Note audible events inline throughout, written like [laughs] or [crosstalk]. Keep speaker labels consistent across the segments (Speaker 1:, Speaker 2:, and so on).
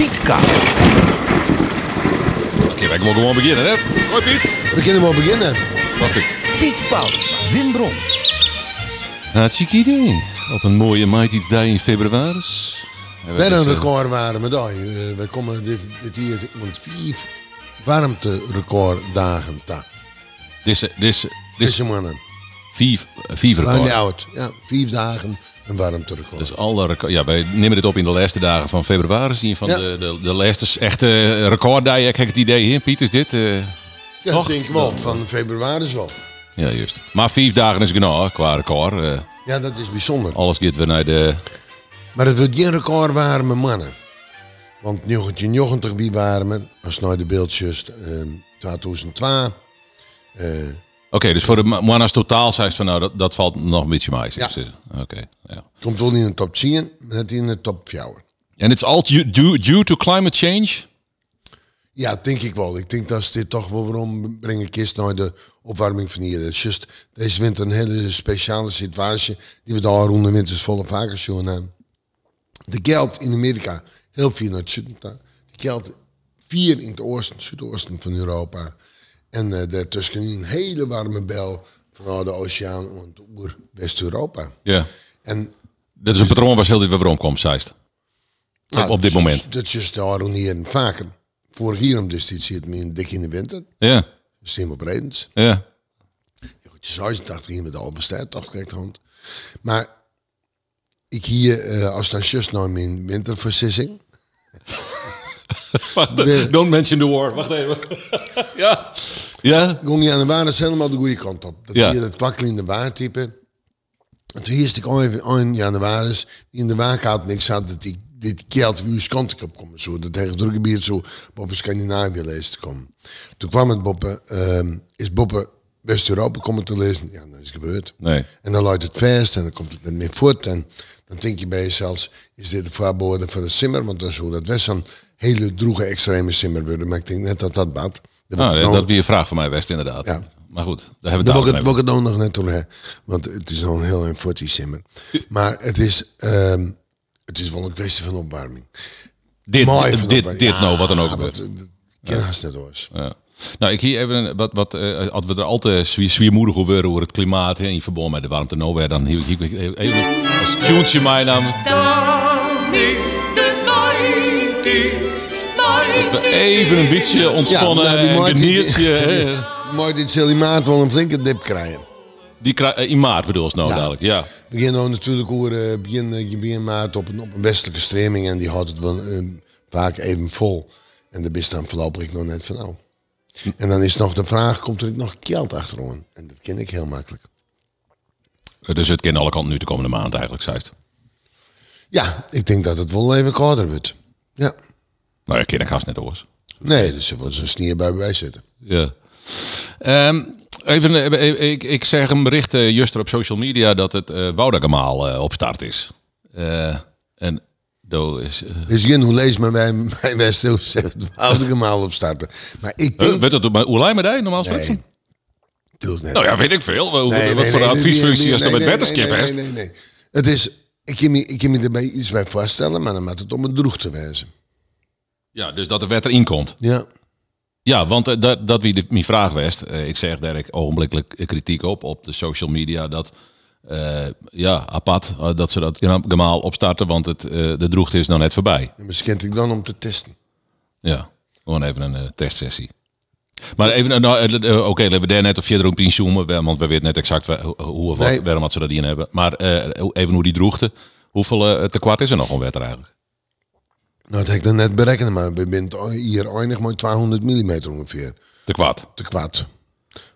Speaker 1: Pietcast.
Speaker 2: Oké, wij mogen gewoon beginnen, hè? Hoi Piet.
Speaker 3: We kunnen wel beginnen.
Speaker 2: Wacht ik.
Speaker 1: Piet Paulusma, Wim Brons.
Speaker 2: Hartstikke idee. Op een mooie Might Iets Day in februari.
Speaker 3: We hebben
Speaker 2: eh,
Speaker 3: een record waren medaille. Eh, we komen dit, dit hier rond vier warmte-recorddagen ta.
Speaker 2: Dit is, dit is, dit is
Speaker 3: Deze mannen.
Speaker 2: vijf, vijf
Speaker 3: Nou,
Speaker 2: record.
Speaker 3: die oud. Ja, vier dagen een warmte-record.
Speaker 2: Dus alle record, ja, wij nemen dit op in de laatste dagen van februari. Zien van
Speaker 3: Ja.
Speaker 2: de, de, de laatste echte recorddagen. Ik heb het idee, hè? Piet, is dit? eh,
Speaker 3: ja,
Speaker 2: toch?
Speaker 3: dat denk ik wel. Van februari is wel.
Speaker 2: ja, juist. Maar vijf dagen is genoeg qua record. Eh,
Speaker 3: Ja, dat is bijzonder.
Speaker 2: alles gaat weer naar de...
Speaker 3: Maar het wordt geen record waren met mannen. Want 1990 wie waren we? Als nou de beeldjes eh, 2002.
Speaker 2: Oké, dus voor de Ma- Moana's totaal zei ze van nou, dat, dat valt nog een beetje mee. zeg
Speaker 3: Ja.
Speaker 2: ze. Oké, ja.
Speaker 3: Komt wel in de top 10, maar net in de top 4.
Speaker 2: En het is all due, due, due to climate change?
Speaker 3: Ja, dat denk ik wel. Ik denk dat ze dit toch wel waarom brengen kist naar de opwarming van hier. Het is just deze winter een hele speciale situatie die we daar rond de winters volle vaker zien aan. De geld in Amerika, heel veel naar het zuiden. toe. De geld vier in het oosten, zuidoosten van Europa. En eh daartussenin een hele warme bel vanuit de oceaan en het oer West-Europa.
Speaker 2: Ja.
Speaker 3: En
Speaker 2: Dit is een patroon waar ze heel dit weer omkomt, zei ze. Op, op dit
Speaker 3: nou, dat is-
Speaker 2: moment.
Speaker 3: Dat is just daar hier vaker. Vorig jaar om dus dit zit me dik in de winter.
Speaker 2: Ja,
Speaker 3: Dat is helemaal breed.
Speaker 2: ja.
Speaker 3: Goed, 86 hier met de Alpenstijl, 80 rechterhand. Maar ik hier, eh, als dan just nou mijn winterversissing. Nee.
Speaker 2: Don't mention the war. Wacht even. [laughs] ja. Ja.
Speaker 3: Ging je aan de waar, is helemaal de goede kant op. Dat
Speaker 2: Ja.
Speaker 3: hier dat kwakkelen in de waartype. En toen hield ik al even aan januari, in de waarkaart niks had dat ik dit geld juist kant ik op komen. Zo, dat tegen het drukgebied zo op een Scandinavië lezen te komen. Toen kwam het Boppe, ehm, is Boppe West-Europa komen te lezen. Ja, dat is gebeurd.
Speaker 2: Nee.
Speaker 3: En dan luidt het vast en dan komt het met meer voort. En dan denk je bij jezelf, is dit de voorbode van de simmer? Want dan zou dat best een hele droege extreme simmer worden. Maar ik denk net dat dat bad. Dat
Speaker 2: Nou,
Speaker 3: wordt
Speaker 2: dat,
Speaker 3: nou-
Speaker 2: dat weer een vraag van mij, West, inderdaad.
Speaker 3: Ja.
Speaker 2: Maar goed, daar hebben we het
Speaker 3: dat wil ik
Speaker 2: daar
Speaker 3: het- wil ik het nou nog net doen, hè. Want het is al een heel en die simmer. Maar het is, ehm, het is wel een kwestie van opwarming.
Speaker 2: Dit,
Speaker 3: Mooi
Speaker 2: dit,
Speaker 3: van
Speaker 2: dit,
Speaker 3: opwarming.
Speaker 2: dit nou, wat dan ook
Speaker 3: Ah,
Speaker 2: gebeurt.
Speaker 3: want, eh, Ik ken haast net hoor.
Speaker 2: Ja. Nou, ik hier even een- wat, wat eh, als we er altijd zwier- zwiermoedig over worden over het klimaat hè, in verband met de warmte nowhere, dan hier, hier, hier- even als tuentje mij nam.
Speaker 4: Dan is de night it, night it
Speaker 2: Even een beetje ontspannen
Speaker 3: nou,
Speaker 2: en
Speaker 3: [laughs]
Speaker 2: geniertje. eh,
Speaker 3: Mooi dit zal in maart wel een flinke dip krijgen.
Speaker 2: Die kri- eh, in maart bedoel je nou dadelijk, ja.
Speaker 3: We gaan nou natuurlijk hoor, eh, begin, eh, je begin maart op een, op een westelijke streaming en die houdt het wel eh, vaak even vol. En daar bist dan voorlopig ik nog net van nou.
Speaker 2: Hm.
Speaker 3: En dan is nog de vraag, komt er nog geld achteraan? En dat ken ik heel makkelijk.
Speaker 2: Dus het kan alle kanten nu de komende maand eigenlijk, zei het.
Speaker 3: Ja, ik denk dat het wel even kouder wordt. Ja.
Speaker 2: Nou ja, ken ik haast net hoor.
Speaker 3: Nee, dus er wordt zo'n snierbui bij zitten.
Speaker 2: Ja. Ehm, even, eh, eh, ik, ik zeg een bericht eh juster op social media dat het eh Woudagemaal eh, op start is. Eh, en do is... eh,
Speaker 3: Dus Jin, hoe lees maar wij, [laughs] mijn Westen, zegt oude gemaal opstarten. Maar ik
Speaker 2: huh,
Speaker 3: denk...
Speaker 2: weet dat op hoe lijn met die normaal gesproken?
Speaker 3: nee, natuurlijk net.
Speaker 2: Nou ja, weet ik veel. Hoe-
Speaker 3: Nee,
Speaker 2: wat
Speaker 3: nee,
Speaker 2: voor
Speaker 3: nee,
Speaker 2: adviesfunctie
Speaker 3: nee,
Speaker 2: als dat
Speaker 3: nee,
Speaker 2: met
Speaker 3: nee,
Speaker 2: wetenschap
Speaker 3: nee,
Speaker 2: hebt?
Speaker 3: Nee, nee, nee. Het is, ik kan me, ik kan me erbij iets bij voorstellen, maar dan moet het om een droeg te wijzen.
Speaker 2: Ja, dus dat de wet erin komt.
Speaker 3: Ja.
Speaker 2: Ja, want eh, dat, dat wie de, mijn vraag was, eh, ik zeg daar ik ogenblikkelijk eh, kritiek op op de social media dat eh, ja apart eh, dat ze dat helemaal opstarten, want het, eh, de droogte is nou net voorbij.
Speaker 3: En misschien ik dan om te testen.
Speaker 2: Ja, gewoon even een eh, testsessie. Maar even, eh, nou, eh, eh, oké, laten we daar net of verder op inzoomen, wel, want we weten net exact wa- hoe- hoe of wat,
Speaker 3: Nee.
Speaker 2: waarom dat ze dat in hebben. Maar eh, even hoe die droogte, hoeveel eh, tekwart is er nog onwetter eigenlijk?
Speaker 3: Nou, dat heb ik dan net berekend, maar we zijn hier eindig maar 200 mm ongeveer.
Speaker 2: Tekwart.
Speaker 3: Te kwaad.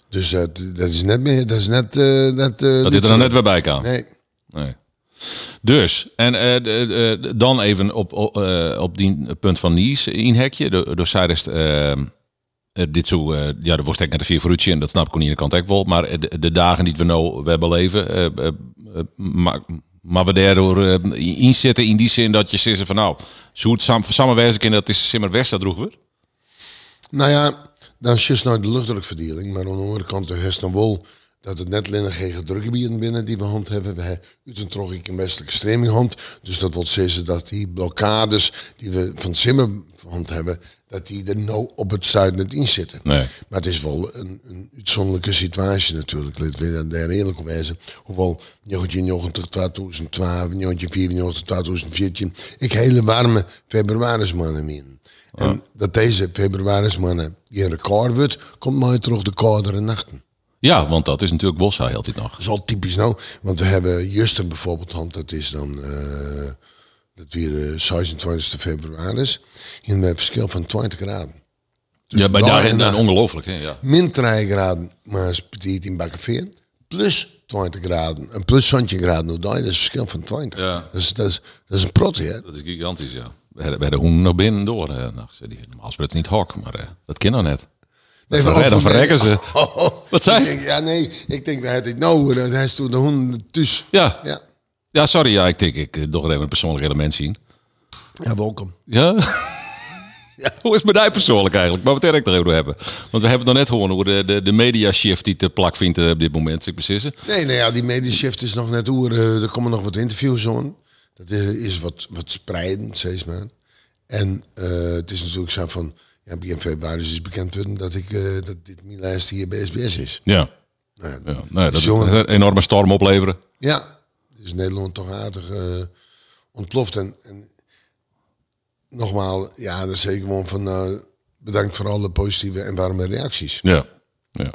Speaker 3: Dus dat, dat is net meer, dat is net... eh net eh,
Speaker 2: Dat dit er
Speaker 3: zo-
Speaker 2: dan net weer bij kan.
Speaker 3: Nee.
Speaker 2: Nee. Dus, en eh, de- de- dan even op, op, eh, op die punt van Nies in hekje. Door, door Cyrus, eh, eh, dit zo, eh, ja, de worst ik naar de vier vooruitje en dat snap ik aan de ene kant ook wel. Maar eh, de, de dagen die we nou we beleven, eh, eh, eh, maar, maar we daardoor eh, in- inzetten in die zin dat je zegt van nou, zo het sam- samenwijzen in dat is simmer west dat droeg weer.
Speaker 3: Nou ja, dan is juist nou de luchtdrukverdeling. Maar aan de andere kant, er is nog wel dat het net linnen geen gedrukgebieden binnen die we handhaven. We hebben Utrecht ik een westelijke streminghand. Dus dat wil zeggen dat die blokkades die we van Zimmerhand hebben, dat die er nou op het zuiden niet in zitten.
Speaker 2: Nee.
Speaker 3: Maar het is wel een, een uitzonderlijke situatie natuurlijk. Laten we daar- daar eerlijk op wijzen. Hoewel 1990, 2012, 1994, 2014. Ik hele warme februarismannen in. En dat deze februarismannen hier record wordt, komt mooi terug de koudere nachten.
Speaker 2: Ja, want dat is natuurlijk Boshaai altijd nog.
Speaker 3: Dat is al typisch nou. Want we hebben Juster bijvoorbeeld, want dat is dan eh, dat weer de 26 februari is. En we hebben verschil van 20 graden.
Speaker 2: ja, bij
Speaker 3: dag
Speaker 2: daar
Speaker 3: en
Speaker 2: en
Speaker 3: nacht.
Speaker 2: ongelooflijk. Hè? Ja.
Speaker 3: min 3 graden maar petit in Bakkeveer. Plus 20 graden. En plus 20 graden. Hoe dan? Dat is een verschil van 20.
Speaker 2: Ja.
Speaker 3: Dat, is, dat, is, dat is een prot, hè?
Speaker 2: Dat is gigantisch, ja. We hadden- we hadden hoen naar binnen door. eh, nachts. Die, normaal is het niet hok, maar eh, dat kan nou net.
Speaker 3: Nee,
Speaker 2: Dan
Speaker 3: ook van-
Speaker 2: verrekken ze.
Speaker 3: [laughs] Oh, oh.
Speaker 2: Wat zei
Speaker 3: Ik
Speaker 2: ze?
Speaker 3: denk, Ja, nee. Ik denk, hij had dit nou. hoor. Hij is toen de honden thuis.
Speaker 2: Ja,
Speaker 3: Ja.
Speaker 2: ja sorry, ja, ik denk ik eh, toch even een persoonlijk element zien.
Speaker 3: Ja, welkom.
Speaker 2: Ja? [laughs] Hoe is het bij mij persoonlijk eigenlijk? Maar wat ik er even door hebben. Want we hebben het nog net gehoord hoe de, de, de media shift die te plak vindt eh, op dit moment. Ik beslissen.
Speaker 3: Nee, nou ja, die mediashift is nog net oer. eh, er komen nog wat interviews aan. Dat is, is wat, wat spreidend, steeds maar. En eh, het is natuurlijk zo van... Ja, begin februari is bekend worden dat, ik, eh, dat dit mijn lijst hier bij SBS is.
Speaker 2: Ja.
Speaker 3: Nou, ja,
Speaker 2: ja. Nou, dat
Speaker 3: Jongen.
Speaker 2: een enorme storm opleveren.
Speaker 3: Ja, dus Nederland toch aardig eh, ontploft. En, en nogmaals, ja, dat zeg ik gewoon van eh, bedankt voor alle positieve en warme reacties.
Speaker 2: Ja. ja.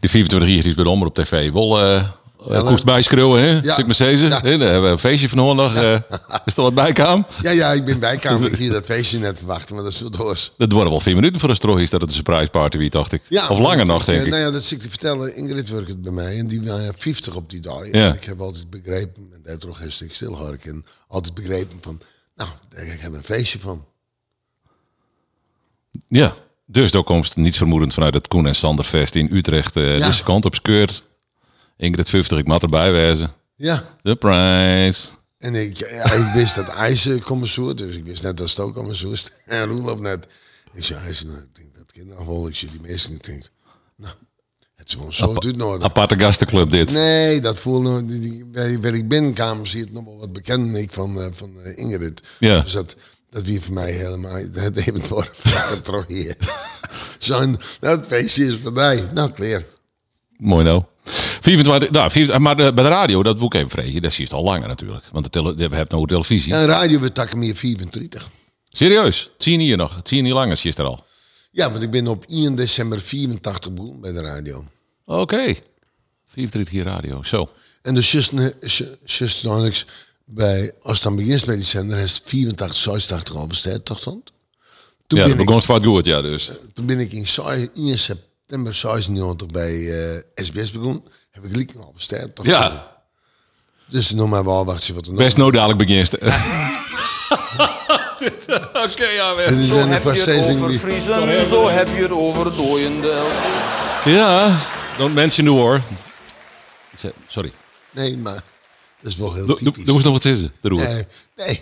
Speaker 2: Die 24 hier is bij de Omroep op tv. Wel eh eh, koest bijschreeuwen, hè? Ja. Stuk Mercedes.
Speaker 3: Ja.
Speaker 2: Hè, Daar hebben we een feestje van nog. eh. is er wat bijkaam?
Speaker 3: Ja, ja, ik ben bijkamer. Ik hier dat feestje net te wachten, maar dat is wel doors.
Speaker 2: Dat worden wel vier minuten voor een strooi is dat het een surprise party wie dacht ik.
Speaker 3: Ja,
Speaker 2: of langer
Speaker 3: want
Speaker 2: nog, denk
Speaker 3: eh,
Speaker 2: ik.
Speaker 3: Nou ja, dat zit ik te vertellen. Ingrid werkt bij mij en die waren 50 op die dag.
Speaker 2: Ja.
Speaker 3: En ik heb altijd begrepen, en daar toch hartstikke stil hoor ik, en altijd begrepen van, nou, ik heb een feestje van.
Speaker 2: Ja. Dus daar komt niets vermoedend vanuit het Koen en Sander Fest in Utrecht. eh
Speaker 3: Ja.
Speaker 2: Deze kant op skeurt. Ingrid 50, ik mat erbij wijzen.
Speaker 3: Ja,
Speaker 2: Surprise.
Speaker 3: En ik, ja, ik wist dat IJzer commissoer, dus ik wist net dat Stook commissoer is. [laughs] En Roelof net. Ik zei, IJzer, nou, ik denk dat kinderafval, ik zie die meesten, ik denk, nou, het is wel een soort uit Noorden.
Speaker 2: Aparte gastenclub dit.
Speaker 3: Nee, dat voelde, die- die- waar waar ik binnenkamer zie het nog wel wat bekend, en ik van, eh, van eh, Ingrid.
Speaker 2: Ja.
Speaker 3: Dus dat, dat wie voor mij helemaal, [laughs] het even door, [laughs] toch hier. Zo'n, nou, het feestje is van mij. Nou, clear.
Speaker 2: Mooi nou. 24, nou 24, maar de- bij de radio, dat moet ik even vregen. Dat zie je het al langer natuurlijk. Want de tele, je hebt nou televisie.
Speaker 3: En radio, we takken meer 34.
Speaker 2: Serieus, tien hier nog. Tien hier langer zie je het er al.
Speaker 3: Ja, want ik ben op 1 december 84 boel bij de radio.
Speaker 2: Oké. 24 hier radio, zo.
Speaker 3: En de Sustonics bij, als het dan begint bij die zender, is het 84, 86 al besteed, toch dan? Toen,
Speaker 2: Ja, dat
Speaker 3: ben ik,
Speaker 2: begon het fout goed, ja dus.
Speaker 3: toen ben ik in, zoi- in september 96 bij eh, SBS begonnen. Heb ik Lieken al besteed, toch?
Speaker 2: Ja,
Speaker 3: Dus nog maar wel wachten wat er nog...
Speaker 2: best nou dadelijk [laughs] beginst. Oké, ja,
Speaker 3: Dit
Speaker 2: weer.
Speaker 3: is
Speaker 5: Zo
Speaker 3: weer een
Speaker 5: heb je het
Speaker 3: versezing
Speaker 5: over
Speaker 3: die...
Speaker 5: vriezen, zo heb je het over dooiende.
Speaker 2: Ja, don't mention the war. Sorry.
Speaker 3: Nee, maar dat is wel heel
Speaker 2: Doe- Doe
Speaker 3: typisch.
Speaker 2: doe eens nog wat zitten, de roer.
Speaker 3: Eh, nee,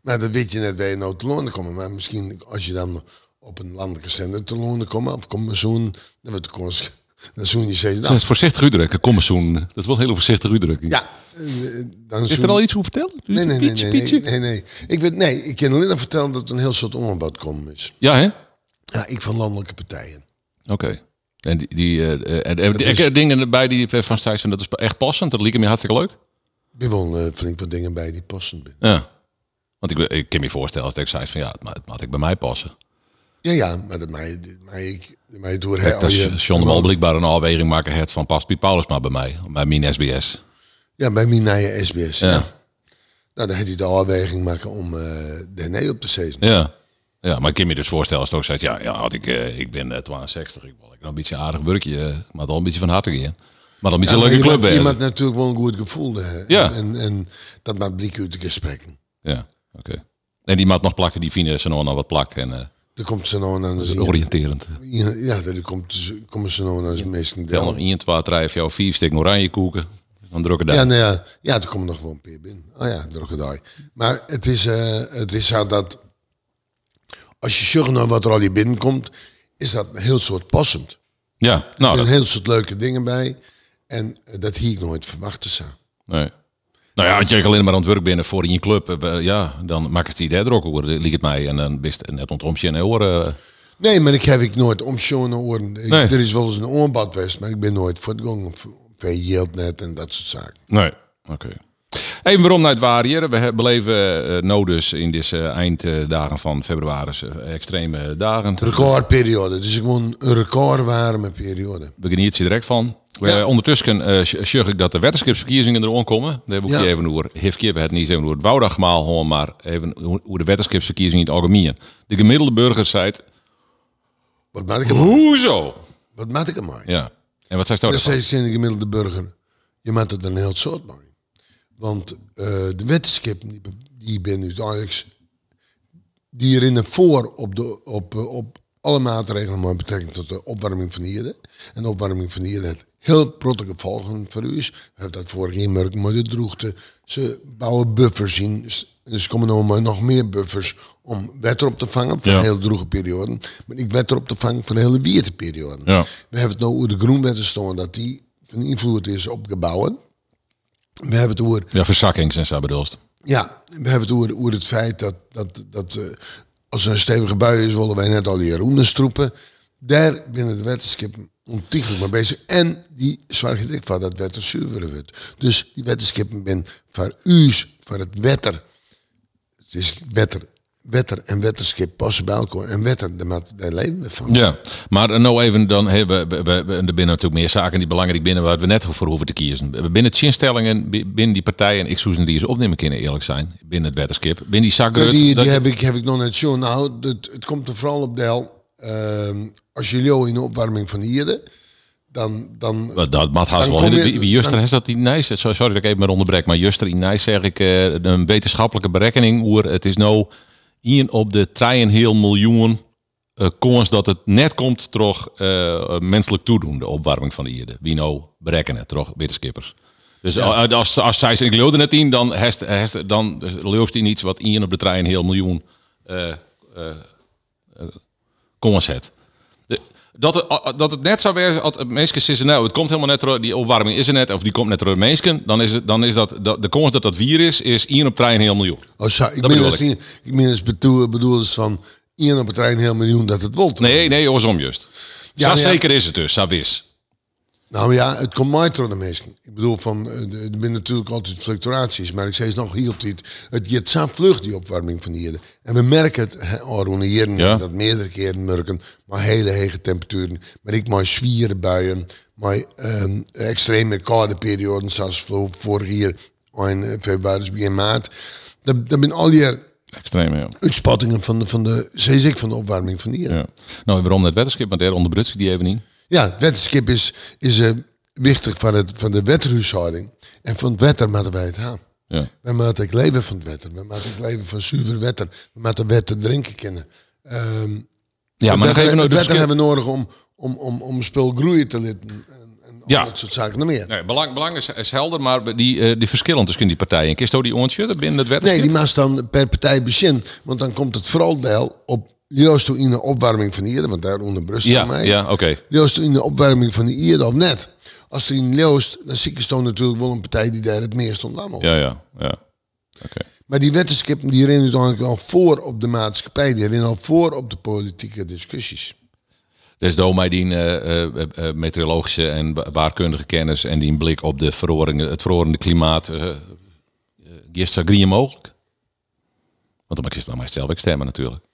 Speaker 3: maar dat weet je net bij je nou te lonen komen. Maar misschien als je dan op een landelijke zender te lonen komt, of komt zo'n, dan wordt de kans- dan zoen je steeds
Speaker 2: Dat
Speaker 3: nou,
Speaker 2: is voorzichtig uitdrukken, kom eens zoen. Dat is wel een hele voorzichtige uitdrukking.
Speaker 3: Ja, eh, dan
Speaker 2: Is er al iets over verteld?
Speaker 3: Nee, nee, nee,
Speaker 2: Pietje,
Speaker 3: nee, nee,
Speaker 2: pietje.
Speaker 3: nee, nee. Ik weet, nee, ik kan alleen nog vertellen dat er een heel soort onderbouw komen is.
Speaker 2: Ja, hè?
Speaker 3: Ja, ik van landelijke partijen.
Speaker 2: Oké. En die, die eh, eh, en, en,
Speaker 3: Dat
Speaker 2: die-
Speaker 3: is-
Speaker 2: ik heb dingen bij die van Stijs, dat is echt passend. Dat liep me hartstikke leuk.
Speaker 3: Ik ben wel eh, flink wat dingen bij die passen binnen.
Speaker 2: Ja. Want ik, ik kan me voorstellen als ik zei van ja, het ma- het maakt ik bij mij passen.
Speaker 3: Ja, ja, maar dat mij, dat mij, ik, dat mij door... hè,
Speaker 2: Dat
Speaker 3: als je-
Speaker 2: is John de Wal blijkbaar een afweging maken het van past Piet Paulus maar bij mij, bij mijn SBS.
Speaker 3: Ja, bij Minaya SBS, ja.
Speaker 2: Ja.
Speaker 3: Nou, dan heeft hij de afweging maken om eh de nee op te zetten.
Speaker 2: Ja. Ja, maar ik kan me dus voorstellen als het ook zegt, ja, ja had ik, eh, ik ben eh, 62, ik wil lekker een beetje een aardig burkje, eh, maar dan een beetje van harte gaan. Maar dan een beetje een leuke club
Speaker 3: iemand,
Speaker 2: hebben.
Speaker 3: iemand natuurlijk wel een goed gevoel. Hè.
Speaker 2: Ja.
Speaker 3: En, en dat maakt blik uit de gesprekken.
Speaker 2: Ja, oké. En die maat nog plakken, die vinden ze nog wel wat plak en eh,
Speaker 3: Er komt ze nou aan de
Speaker 2: dat is oriënterend.
Speaker 3: Ja, er komt, komen ze nou aan de meesten
Speaker 2: Wel nog 1, 2, 3, 4, 5 stuk oranje koeken. Dan drukken daar.
Speaker 3: Ja, nou ja, ja, er komen nog gewoon een paar binnen. Oh ja, droge dag. Maar het is, eh, het is zo dat als je zorgt naar wat er al hier binnenkomt, is dat een heel soort passend.
Speaker 2: Ja, nou,
Speaker 3: Er
Speaker 2: dat,
Speaker 3: zijn heel soort leuke dingen bij. En eh, dat hier ik nooit verwachten zou.
Speaker 2: Nee. Nou ja, als je alleen maar aan het werk binnen voor in je club, eh, eh, ja, dan maakt het die daar ook over. Liegt het mij en dan best net ontomtje en horen. eh,
Speaker 3: Nee, maar ik heb ik nooit om zo'n oren. Ik-
Speaker 2: Nee.
Speaker 3: Er is wel eens een oorbad geweest, maar ik ben nooit voor het gang of verjeeld net en dat soort zaken.
Speaker 2: Nee. Oké. Even waarom naar het waar hier. We he- beleven eh nou dus in deze einddagen van februari eh, extreme dagen.
Speaker 3: Recordperiode, dus gewoon een recordwarme periode.
Speaker 2: We genieten er direct van.
Speaker 3: Ja.
Speaker 2: Eh, ondertussen eh, sh- zorg ik dat de wetenschapsverkiezingen er aankomen. Daar boek je
Speaker 3: Ja.
Speaker 2: even over. Heeft Kip het niet even over het Woudagmaal gewoon, maar even hoe hoe de wetenschapsverkiezingen in het algemeen. De gemiddelde burger zei:
Speaker 3: Wat maak ik hem mooi?
Speaker 2: Hoezo?
Speaker 3: Wat maak ik hem mooi?
Speaker 2: Ja. En wat zei Stout?
Speaker 3: Dat
Speaker 2: daarvan?
Speaker 3: zei in de gemiddelde burger. Je maakt het een heel soort mooi. Want eh, de wetenschap, die, die ben dus eigenlijk... Die herinneren voor op, de, op, eh, op alle maatregelen met betrekking tot de opwarming van de aarde. En de opwarming van de aarde heeft heel prottige gevolgen voor u. is. We hebben dat vorig jaar merkt met de droogte. Ze bouwen buffers in. Dus komen er maar nog meer buffers om wetter op te vangen voor
Speaker 2: Ja.
Speaker 3: heel droge perioden. Maar ik wetter op te vangen voor de hele wierteperioden.
Speaker 2: Ja.
Speaker 3: We hebben het nou over de groenwetten staan, dat die van invloed is op gebouwen. We hebben het over,
Speaker 2: Ja, verzakkings en zo bedoelst.
Speaker 3: ja, we hebben het, over, over het feit dat, dat, dat eh, als er een stevige bui is, willen wij net al die roenen stroepen. Daar binnen de wetenschappen ontiegelijk mee bezig. En die zorgt er ik van dat wetter zuiver wordt. Dus die wetenschappen ben voor u's, voor het wetter. Het is wetter, wetter en wetterschip passen bij elkaar. En wetter, daar, maat- daar leven we van.
Speaker 2: Ja, maar eh, nou even dan hebben we, we- we- er binnen natuurlijk meer zaken die belangrijk binnen waar we net voor hoeven te kiezen. Binnen de instellingen, bi- binnen die partijen, ik zou ze die eens opnemen kunnen eerlijk zijn, binnen het wetenschap, binnen die zakken.
Speaker 3: Ja, die,
Speaker 2: dat-
Speaker 3: die heb, ik, heb ik nog net zo. Nou, het, het komt er vooral op deel. ehm als jullie al in de opwarming van de aarde, dan, dan
Speaker 2: Wat dat maat haast
Speaker 3: Dan
Speaker 2: wel.
Speaker 3: kom
Speaker 2: Wie-
Speaker 3: je-
Speaker 2: Wie Juster
Speaker 3: dan-
Speaker 2: is dat in Nijs? Sorry dat ik even maar onderbreek, maar Juster in Nijs zeg ik eh, een wetenschappelijke berekening hoe het is nou in op de 3,5 miljoen eh kans dat het net komt door eh, menselijk toedoen, de opwarming van de aarde. Wie nou berekenen, toch wetenschappers. Dus als, als, als zij ze- ik geloof er net in, dan, hest, hest, dan leeuwst in iets wat in op de 3,5 miljoen eh, kom eens het. De- Dat het, dat het net zou zijn als het mensen zeggen, nou, het komt helemaal net door, die opwarming is er net, of die komt net door de mensen, dan is, het, dan is dat, dat de kans dat dat vier is, is 1 op 3,5 miljoen.
Speaker 3: als, zou- ik
Speaker 2: Dat
Speaker 3: meen
Speaker 2: bedoel
Speaker 3: als, ik ik meen als bedoel, bedoel eens van iemand op het trein heel miljoen dat het wilt.
Speaker 2: Nee, nee, andersom juist.
Speaker 3: Ja,
Speaker 2: Ja,
Speaker 3: maar ja.
Speaker 2: zeker is het dus, dat wist.
Speaker 3: Nou ja, het komt maar door de mensen. Ik bedoel, van, eh, de- er zijn natuurlijk altijd fluctuaties, maar ik zei het nog hier op dit. Het gaat zo vlug, die opwarming van de aarde. En we merken het hè, al rond de jaren,
Speaker 2: Ja.
Speaker 3: dat meerdere keren merken, maar hele hege temperaturen. Maar ik maar zwieren buien, maar ehm, extreme koude perioden, zoals vo- vorig jaar in eh, februari, dus begin maart. Dat, dat zijn al die
Speaker 2: Extreem, ja.
Speaker 3: uitspattingen van de, van de, zei ik, van de opwarming van de aarde.
Speaker 2: ja. Nou, waarom net wetenschap, want daar onderbrutst ik die even niet.
Speaker 3: Ja, het wetenschap is, is eh, wichtig van, het, van de wetterhuishouding. En van het wetter moeten wij het aan.
Speaker 2: Ja.
Speaker 3: Wij moeten het leven van het wetter. We moeten het leven van zuiver wetter. We moeten wetter drinken kennen.
Speaker 2: Ja,
Speaker 3: Ehm,
Speaker 2: maar
Speaker 3: het
Speaker 2: dan even
Speaker 3: wetter,
Speaker 2: nou
Speaker 3: het
Speaker 2: de
Speaker 3: wetter
Speaker 2: verschil-
Speaker 3: hebben we nodig om, om, om, om spul groeien te litten. En, en
Speaker 2: Ja.
Speaker 3: al dat soort zaken nog meer.
Speaker 2: Nee, belang, belang is, is helder, maar die, eh, die verschillen tussen die partijen. Kist ook die oortje binnen het wetenschap?
Speaker 3: Nee, die maakt dan per partij bezin. Want dan komt het vooral deel op juist toen in de opwarming van hier. Want daar onder Brussel
Speaker 2: Ja,
Speaker 3: mij.
Speaker 2: ja, oké.
Speaker 3: Joost in de opwarming van de Ierde of net. Als er in Joost, dan zie ik Stone natuurlijk wel een partij die daar het meest ontlammelt.
Speaker 2: Ja, ja, ja. Oké.
Speaker 3: Maar die wetenschap die rennen dan al voor op de maatschappij, die rennen al voor op de politieke discussies.
Speaker 2: Dus door mij die eh, eh, eh, meteorologische en wa- waarkundige kennis en die blik op de verroring, het verrorende klimaat, eh eh, gisteren grieën mogelijk? Want dan mag je dan maar zelf ik stemmen natuurlijk.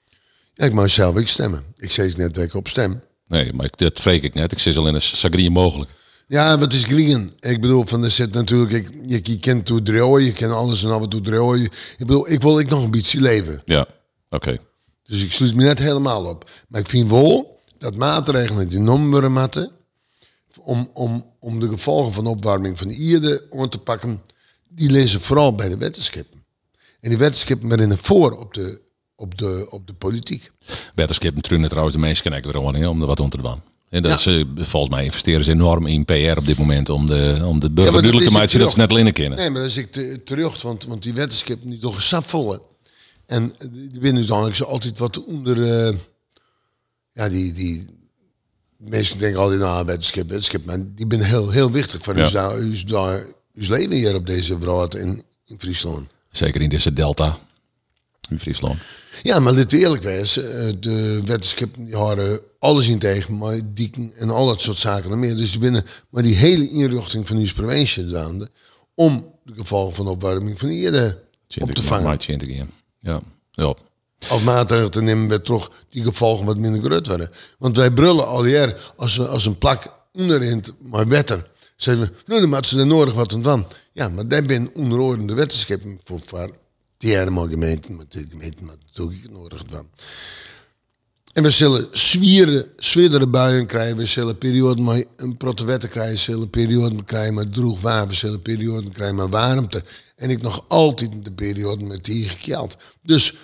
Speaker 3: Ja, ik mag zelf ik stemmen. Ik zei het net week op stem.
Speaker 2: Nee, maar ik, dat vreek ik net. Ik zit al in een sagrieën mogelijk.
Speaker 3: Ja, wat is green? Ik bedoel, van er zit natuurlijk, ik, je, je kent toe drooien, je kent alles en af en toe drooien. Ik bedoel, ik wil ik nog een beetje leven.
Speaker 2: Ja, oké.
Speaker 3: Dus ik sluit me net helemaal op. Maar ik vind wel dat maatregelen die genomen worden moeten, om, om, om de gevolgen van de opwarming van de aarde aan te pakken, die lezen vooral bij de wetenschappen. En die wetenschappen rennen voor op de, op de, op de politiek.
Speaker 2: Wetenschap en trunen trouwens, de mensen kijken weer gewoon heel om er wat onder te doen. En dat
Speaker 3: Ja.
Speaker 2: is, eh, volgens mij investeren ze enorm in PR op dit moment om de, om de burger
Speaker 3: dat
Speaker 2: duidelijk te
Speaker 3: is
Speaker 2: maken dat ze
Speaker 3: natuurlijk-
Speaker 2: net linnen kennen.
Speaker 3: Nee, maar dat is ik te- terug, want, want die wetenschappen die toch sapvolle. En die winnen dan ook zo altijd wat onder. eh, ja, die, die, Mensen denken altijd, nou, bij het schip, bij het schip. Maar die ben heel, heel wichtig voor
Speaker 2: Ja.
Speaker 3: ons, daar, ons, daar, ons leven hier op deze wereld in, in Friesland.
Speaker 2: Zeker in deze delta. In Friesland.
Speaker 3: Ja, maar laten we eerlijk wezen. eh, De wetenschap die hadden alles in tegen, maar dieken en al dat soort zaken en meer. Dus die binnen, maar die hele inrichting van die provincie gaande om de gevolgen van de opwarming van de eerder op te vangen.
Speaker 2: Maar 20 keer. Ja. ja.
Speaker 3: Of maatregelen te nemen met toch die gevolgen wat minder groot werden. Want wij brullen al jaar als, we- als een plak onderin maar wetter. Zeggen we, nou dan maakt ze er nodig wat aan van. Ja, maar daar ben onderordende wetenschappen voor, voor die arme gemeenten, maar de gemeente maakt het ook niet nodig van. En we zullen zwieren, zwierdere buien krijgen. We zullen perioden met een protte wetten krijgen. We zullen perioden krijgen met droog waar. We zullen perioden krijgen met warmte. En ik nog altijd de periode met die gekeld. Dus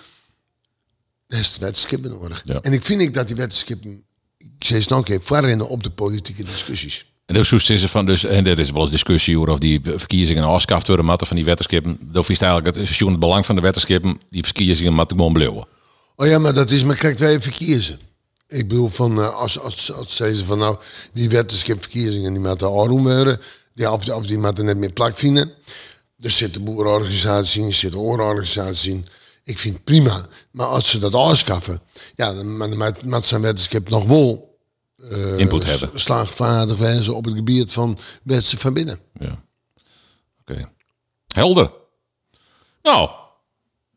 Speaker 3: daar is het wetenschappen nodig.
Speaker 2: Ja.
Speaker 3: En ik vind ik dat die wetenschappen, ik zei het nog een keer, voorrennen op de politieke discussies.
Speaker 2: En dus is er van, dus, en er is wel eens discussie over of die verkiezingen afschaft worden, matten van die wetenschappen. Dat is eigenlijk het, sjoen het belang van de wetenschappen, die verkiezingen matten gewoon bleeuwen.
Speaker 3: Oh ja, maar dat is, maar krijgt wij verkiezen. Ik bedoel, van, eh, als, als, als zeiden ze van nou, die wetenschap verkiezingen die met de arm worden, die, of, of die met net meer plak vinden. Er zitten boerenorganisaties in, er zitten oororganisaties in. Ik vind het prima. Maar als ze dat afschaffen, ja, dan ma- ma- maakt zijn wetenschap nog wel
Speaker 2: Input
Speaker 3: dus-
Speaker 2: hebben.
Speaker 3: slaagvaardig wijzen op het gebied van wetenschap van binnen.
Speaker 2: Ja. Oké. Helder. Nou,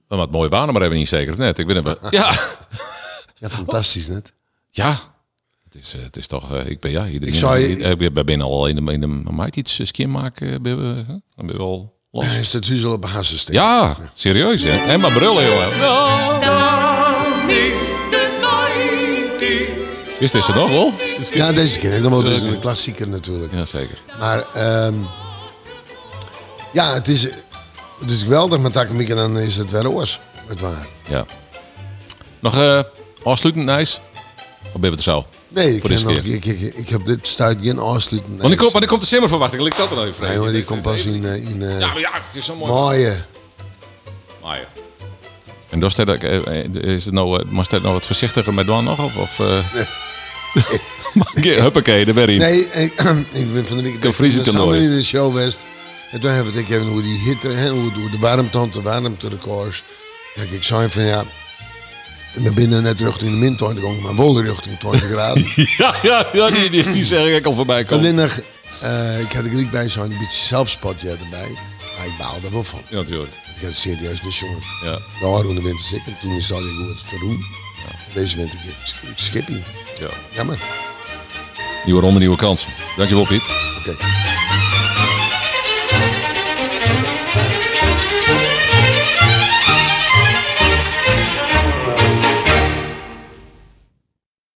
Speaker 2: dan wat mooie banen, maar hebben we niet zeker of net. Ik ben er wel.
Speaker 3: [laughs]
Speaker 2: Ja.
Speaker 3: Ja, fantastisch net.
Speaker 2: Ja. Het is, eh, het is toch, eh, ik ben ja, iedereen,
Speaker 3: Ik zou je-
Speaker 2: ik ben- ben al in de, in de maait iets eh, skin maken, eh, ben we, hè? dan ben je
Speaker 3: [laughs]
Speaker 2: al.
Speaker 3: Hij is het huzel op een hassensteen.
Speaker 2: Ja, serieus hè. En maar brullen jongen.
Speaker 4: Dan is de nooit
Speaker 2: Is dit ze nog wel?
Speaker 3: Ja, deze ken ik nog wel. Het is een klassieker natuurlijk.
Speaker 2: Ja, zeker.
Speaker 3: Maar ehm, ja, het is, het is geweldig, maar tak en dan is het weer oors. Het waar.
Speaker 2: Ja. Nog eh afsluitend, Nijs? Of ben je het zo?
Speaker 3: Nee, ik,
Speaker 2: Voor deze
Speaker 3: ken nog,
Speaker 2: keer.
Speaker 3: ik, ik, ik heb dit stuit geen afsluitend. Nee,
Speaker 2: Want ik kom, maar ik komt de simmerverwachting. Ligt dat er nou even?
Speaker 3: Nee, hoor, die komt pas in, eh, in eh,
Speaker 2: Ja, maar ja, het is zo mooi.
Speaker 3: maaien.
Speaker 2: Maar ja. En dan stel ik, eh, eh, is het nou, eh, maar stel ik nou wat voorzichtiger met Dwan nog? Of, of eh? [laughs] Maar een keer, Huppakee, daar ben je.
Speaker 3: Nee, ik, [clears throat] ik ben van de week
Speaker 2: heb vriezen
Speaker 3: met
Speaker 2: te
Speaker 3: Sander
Speaker 2: nooien.
Speaker 3: in de show West. En toen hebben we het ook even hoe die hitte, hè, hoe, hoe de warmte, want de warmterecords. Kijk, ik zei van ja, we binnen net richting de min 20 gegaan, maar wel richting
Speaker 2: [laughs]
Speaker 3: 20 graden.
Speaker 2: Ja, ja, ja die, die, die zeg ik al voorbij komen.
Speaker 3: Alleen nog, eh, ik had er gelijk bij zo'n beetje zelfspotje erbij. Maar ik baalde wel van.
Speaker 2: Ja, natuurlijk.
Speaker 3: Ik had het serieus niet jongen.
Speaker 2: Ja,
Speaker 3: Nou, toen de winter ziek en toen zal ik hoe het verroen. Deze winter ik sch- ik schip in.
Speaker 2: ja.
Speaker 3: Jammer.
Speaker 2: Nieuwe ronde, nieuwe kansen. Dankjewel, Piet.
Speaker 3: Oké.